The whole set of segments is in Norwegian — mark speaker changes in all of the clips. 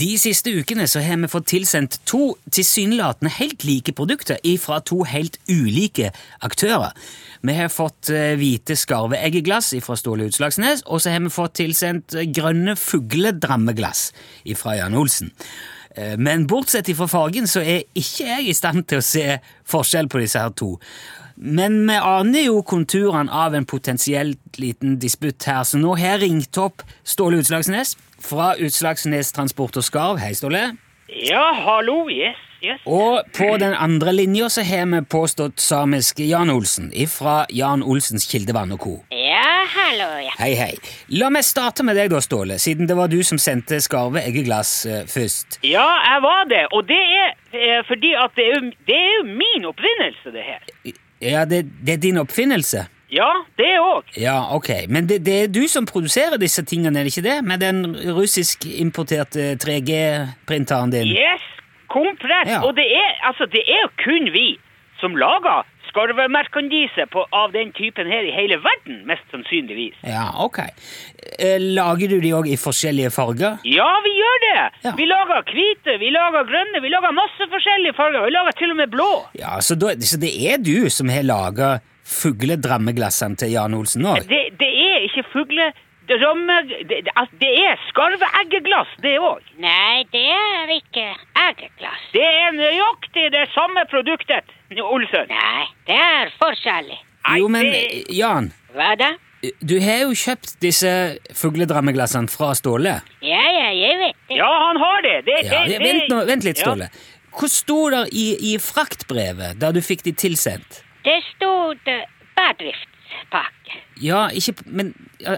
Speaker 1: De siste ukene så har vi fått tilsendt to tilsynelatende helt like produkter fra to helt ulike aktører. Vi har fått eh, hvite skarveeggeglass fra Ståle Utslagsnes, og så har vi fått tilsendt eh, grønne fugledrammeglass fra Jan Olsen. Eh, Men bortsett fra fargen så er ikke jeg i stand til å se forskjell på disse her to. Men vi aner jo konturene av en potensielt liten disputt her, så nå har jeg ringt opp Ståle Utslagsnes fra Utslagsnes Transport og Skarv. Hei, Ståle.
Speaker 2: Ja, hallo, yes, yes.
Speaker 1: Og på den andre linja så har vi påstått samisk Jan Olsen ifra Jan Olsens Kildevann og co.
Speaker 2: Ja, hallo, ja.
Speaker 1: Hei, hei. La meg starte med deg da, Ståle, siden det var du som sendte skarve eggeglass eh, først.
Speaker 2: Ja, jeg var det, og det er eh, fordi at det er, jo, det er jo min oppfinnelse, det her.
Speaker 1: Ja, det, det er din oppfinnelse?
Speaker 2: Ja, det òg.
Speaker 1: Ja, ok. Men det, det er du som produserer disse tingene, er det ikke det? Med den russisk-importerte 3G-printeren din?
Speaker 2: Yes, komplett.
Speaker 1: Ja.
Speaker 2: Og det er, altså, det er jo kun vi som lager skarvemerkandise på- av den typen her i hele verden, mest sannsynligvis.
Speaker 1: Ja, ok. Eh, Lager du de òg i forskjellige farger?
Speaker 2: Ja, vi gjør det!
Speaker 1: Ja.
Speaker 2: Vi lager hvite, vi lager grønne, vi lager masse forskjellige farger. Vi lager til og med blå.
Speaker 1: Ja, Så, da, så det er du som har laga fugledrammeglassene til Jan Olsen òg?
Speaker 2: Det, det er ikke fugle... Ramme, det, det, altså, det er skarveeggeglass, det òg.
Speaker 3: Nei, det er ikke eggeglass.
Speaker 2: Det er nøyaktig det samme produktet, Olsen.
Speaker 3: Nei, det er forskjellig.
Speaker 2: Nei,
Speaker 1: Jo, men
Speaker 2: det-
Speaker 1: eh, Jan,
Speaker 3: Hva da?
Speaker 1: eh, du har jo kjøpt disse fugledrammeglassene fra Ståle.
Speaker 3: Ja, ja, jeg vet det.
Speaker 2: Ja, han har det. det,
Speaker 1: Ja,
Speaker 2: det, det
Speaker 1: vent, nå, vent litt,
Speaker 2: Ja.
Speaker 1: Ståle. Hva sto det i, i fraktbrevet da du fikk de tilsendt?
Speaker 3: Det stod eh, bedriftspakke.
Speaker 1: Ja, ikke Men ja,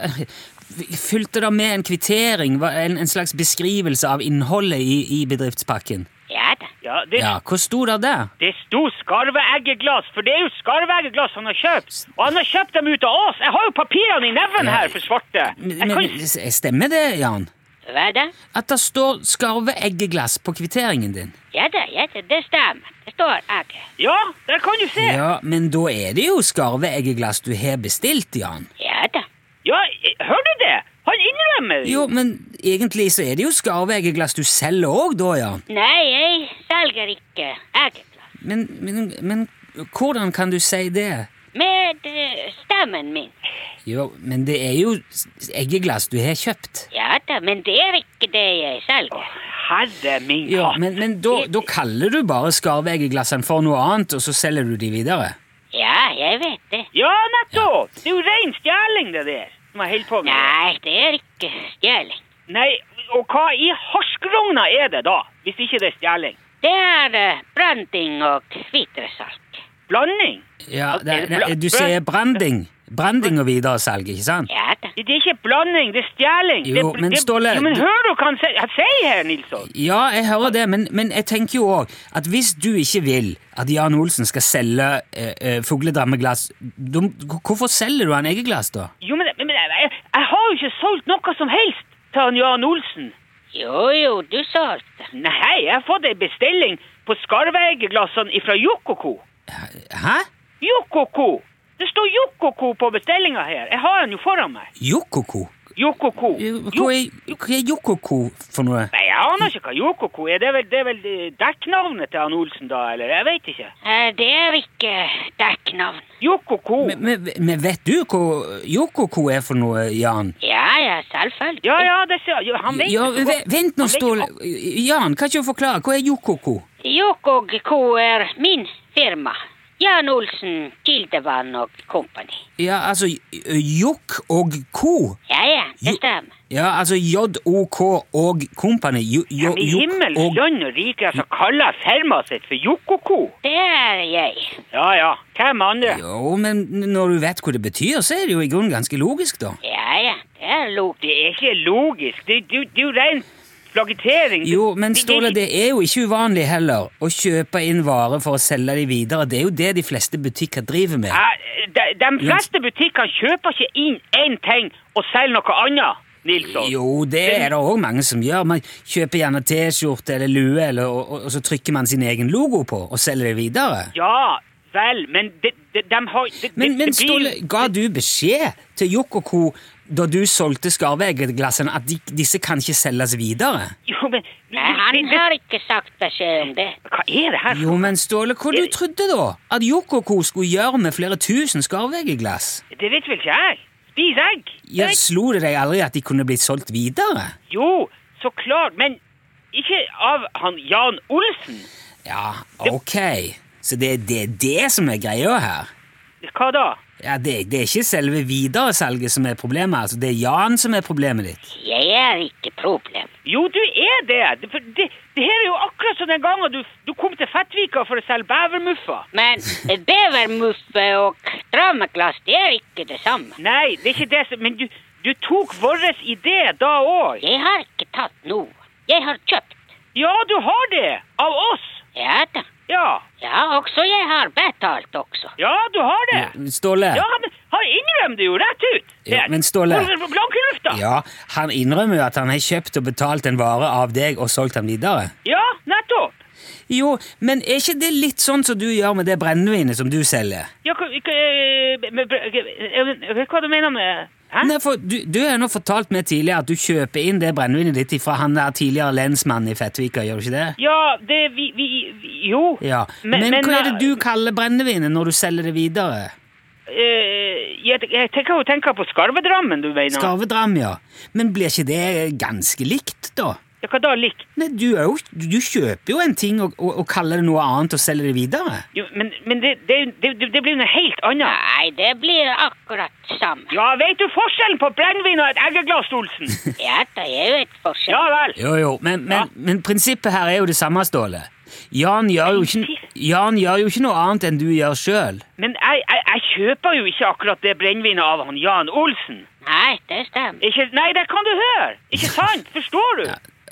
Speaker 1: Fulgte det med en kvittering? hva- En, en slags beskrivelse av innholdet i, i bedriftspakken?
Speaker 3: Ja da.
Speaker 2: Ja, det,
Speaker 1: Ja, Hva sto det der?
Speaker 2: det sto skarveeggeglass, for det er jo skarveeggeglass han har kjøpt. Og han har kjøpt dem ut av oss. Jeg har jo papirene i neven her for svarte.
Speaker 1: Men,
Speaker 2: Jeg kan...
Speaker 1: men, s- stemmer det, Jan?
Speaker 3: Hva da?
Speaker 1: At det står skarveeggeglass på kvitteringen din?
Speaker 3: Ja da, ja da, det stemmer. Det står egg.
Speaker 2: Ja, der kan du se. Ja,
Speaker 1: Ja, men da er det jo skarveeggeglass du har bestilt, Jan.
Speaker 3: Ja da.
Speaker 2: eh, hører du det? Han innrømmer.
Speaker 1: Jo, men egentlig så er det jo skarveeggeglass du selger òg, da, Jan.
Speaker 3: Nei, jeg selger ikke eggeglass.
Speaker 1: Men, men, men hvordan kan du si det?
Speaker 3: Med eh, stemmen min.
Speaker 1: Jo, men det er jo s- eggeglass du har kjøpt.
Speaker 3: Ja da, men det er ikke det jeg selger.
Speaker 2: Herre min katt.
Speaker 1: Ja, men, men da, da kaller du bare skarveeggeglassene for noe annet, og så selger du de videre?
Speaker 3: Ja, jeg vet det.
Speaker 2: Ja, nettopp. Det er jo ren stjeling, det der. Som jeg holder på med.
Speaker 3: Nei, det er ikke stjeling.
Speaker 2: Nei, og hva i harskrogna er det da? Hvis ikke det er stjeling?
Speaker 3: Det er eh, branding og hvitresalt.
Speaker 2: Blanding?
Speaker 1: Ja,
Speaker 2: Ok,
Speaker 1: det,
Speaker 2: bra-
Speaker 1: det, du sier branding. Branding og videresalg, ikke sant?
Speaker 3: Ja da.
Speaker 2: Det er ikke blanding, det er stjeling.
Speaker 1: Jo,
Speaker 2: det,
Speaker 1: men
Speaker 2: det,
Speaker 1: Ståle,
Speaker 2: jo, men
Speaker 1: du-
Speaker 2: hører du hva han sier han sier her, Nilsson?
Speaker 1: Ja, jeg hører det, men, men jeg tenker jo òg at hvis du ikke vil at Jan Olsen skal selge eh, eh, fugledrammeglass, da- hvorfor selger du han eggeglass, da?
Speaker 2: Jo, men, men jeg, jeg, jeg har jo ikke solgt noe som helst til han Jan Olsen.
Speaker 3: Jo, jo, du altså. solgte.
Speaker 2: Nei, jeg har fått ei bestilling på skarveeggeglassene fra Jokoko.
Speaker 1: Hæ?
Speaker 2: Jokoko! Det står Jokoko på bestillinga her. Jeg har den jo foran meg.
Speaker 1: Jokoko?
Speaker 2: Jokoko.
Speaker 1: Hva er, hva er jokoko for noe?
Speaker 2: Nei, jeg aner ikke hva Jokoko er. Det er vel, det er vel eh, dekknavnet til han Olsen, da? Eller jeg vet ikke.
Speaker 3: Eh, Det er ikke dekknavn.
Speaker 2: Jokoko.
Speaker 1: Men, men, men vet du hva jokoko er for noe, Jan?
Speaker 3: Ja, ja, selvfølgelig.
Speaker 2: Ja, ja, det ser jo, Han vet
Speaker 1: Ja,
Speaker 2: jo så
Speaker 1: ve-
Speaker 2: godt.
Speaker 1: vent nå,
Speaker 2: Han vet jo
Speaker 1: Ståle. Jan, kan ikke du forklare? Hva er jokoko?
Speaker 3: Jokog Co. er min firma. Jan Olsen, Kildevann og Company.
Speaker 1: Ja, altså j- jokk og ko.
Speaker 3: Ja, ja,
Speaker 1: Jo-
Speaker 3: det stemmer.
Speaker 1: Ja, altså JOK og company. Jo, jo,
Speaker 2: Ja, men i
Speaker 1: jokk
Speaker 2: himmels
Speaker 1: og
Speaker 2: land og rike, altså, kaller jeg firmaet sitt for Jokoko.
Speaker 3: Det er jeg.
Speaker 2: Ja, ja. Hvem andre?
Speaker 1: Jo, men når du vet hva det betyr, så er det jo i grunnen ganske logisk, da.
Speaker 3: Ja, ja, det er log.
Speaker 2: Det er ikke logisk. Det, det, det er jo ren flagitering.
Speaker 1: Jo, men Ståle, det er jo ikke uvanlig heller å kjøpe inn varer for å selge de videre. Det er jo det de fleste butikker driver med.
Speaker 2: Ja, De, de fleste butikkene kjøper ikke inn én ting og selger noe annet, Nilsson.
Speaker 1: Jo, det er det òg mange som gjør. Man kjøper gjerne T-skjorte eller lue, eller, og, og- og så trykker man sin egen logo på og selger det videre.
Speaker 2: Ja, vel, men de, de, de har det-
Speaker 1: Men,
Speaker 2: det-
Speaker 1: men
Speaker 2: det blir-
Speaker 1: Ståle, ga du beskjed til Jokk og Co da du solgte skarveeggeglassene, at de, disse kan ikke selges videre?
Speaker 2: Jo, men du-
Speaker 3: Nei, Eh, han
Speaker 2: det-
Speaker 3: har ikke sagt beskjed om det.
Speaker 2: Hva er det her?
Speaker 1: Jo, men Ståle, hva du trodde da? At Yoko Co skulle gjøre med flere tusen skarveeggeglass?
Speaker 2: Det vet vel ikke jeg. Spis egg.
Speaker 1: Ja,
Speaker 2: Egg.
Speaker 1: slo det deg aldri at de kunne blitt solgt videre?
Speaker 2: Jo, så klart, men ikke av han Jan Olsen.
Speaker 1: Ja, ok. Så det er det, det som er greia her?
Speaker 2: Hva da?
Speaker 1: Ja, det, det er ikke selve videresalget som er problemet, altså. Det er Jan som er problemet ditt.
Speaker 3: Jeg er ikke problem.
Speaker 2: Jo, du er det. Det- For det, det her er jo akkurat som den gangen du, du kom til Fettvika for å selge bevermuffa.
Speaker 3: Men bevermuffe og dramaglass, det er ikke det samme.
Speaker 2: Nei, det er ikke det som Men du, du tok vår idé da òg.
Speaker 3: Jeg har ikke tatt noe. Jeg har kjøpt.
Speaker 2: Ja, du har det. Av oss.
Speaker 3: Ja da.
Speaker 2: Ja.
Speaker 3: Ja, også jeg har betalt også.
Speaker 2: Ja, du har det.
Speaker 1: Ståle?
Speaker 2: Ja, men han innrømmer det jo rett ut.
Speaker 1: Jo, men Ståle-
Speaker 2: Over blanke lufta. Ja.
Speaker 1: Ja, han innrømmer jo at han har kjøpt og betalt en vare av deg og solgt den videre.
Speaker 2: nettopp.
Speaker 1: Jo, men er ikke det litt sånn som du gjør med det brennevinet som du selger?
Speaker 2: Ja, hva, hva, eh, men- men- eh, hva du mener med Hæ?
Speaker 1: Nei, for du, du har nå fortalt meg tidligere at du kjøper inn det brennevinet ditt fra han der tidligere lensmannen i Fettvika, gjør du ikke det?
Speaker 2: Ja, det vi, vi, vi Jo.
Speaker 1: Ja, men, hva er det du kaller brennevinet når du selger det videre?
Speaker 2: eh, jeg, jeg tenker jo tenker på skarvedrammen, du mener.
Speaker 1: Skarvedram, ja. Men blir ikke det ganske likt, da?
Speaker 2: Ja, Hva da likt?
Speaker 1: Nei, du, er jo, du kjøper jo en ting og, og, og kaller det noe annet og selger det videre.
Speaker 2: Jo, men men det, det, det, det blir jo noe helt annet.
Speaker 3: Nei, det blir akkurat samme.
Speaker 2: Ja, vet du forskjellen på brennevin og et eggeglass, Olsen?
Speaker 3: Ja da, jeg vet forskjell.
Speaker 2: Ja vel.
Speaker 1: Jo, jo, men, men,
Speaker 2: Ja.
Speaker 1: men prinsippet her er jo det samme, Ståle. Jan gjør jo ikke, Jan gjør jo ikke noe annet enn du gjør sjøl.
Speaker 2: Men jeg, jeg, jeg kjøper jo ikke akkurat det brennevinet av han Jan Olsen.
Speaker 3: Nei, det stemmer.
Speaker 2: Ikke, nei, det kan du høre! Ikke sant? Forstår du?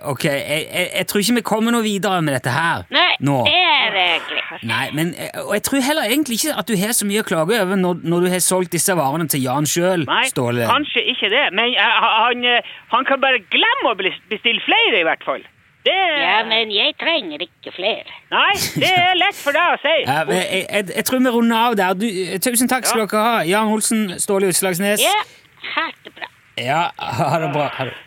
Speaker 1: Ok, jeg, jeg, jeg tror ikke vi kommer noe videre med dette her
Speaker 3: Nei,
Speaker 1: nå.
Speaker 3: det er eh, greit.
Speaker 1: Nei, men eh, og jeg tror heller egentlig ikke at du har så mye å klage over når, når du har solgt disse varene til Jan sjøl,
Speaker 2: Nei,
Speaker 1: Ståle.
Speaker 2: kanskje ikke det. Men jeg, han, eh, han kan bare glemme å bli- bestille flere, i hvert fall. Det
Speaker 3: Ja, men jeg trenger ikke flere.
Speaker 2: Nei, det er lett for deg å si.
Speaker 1: Ja, men jeg, jeg, jeg tror vi runder av der. Du, eh, tusen takk skal dere ha, Jan Olsen, Ståle Utslagsnes.
Speaker 3: Ja, ha det bra.
Speaker 1: Ja, ha det bra. Ha det.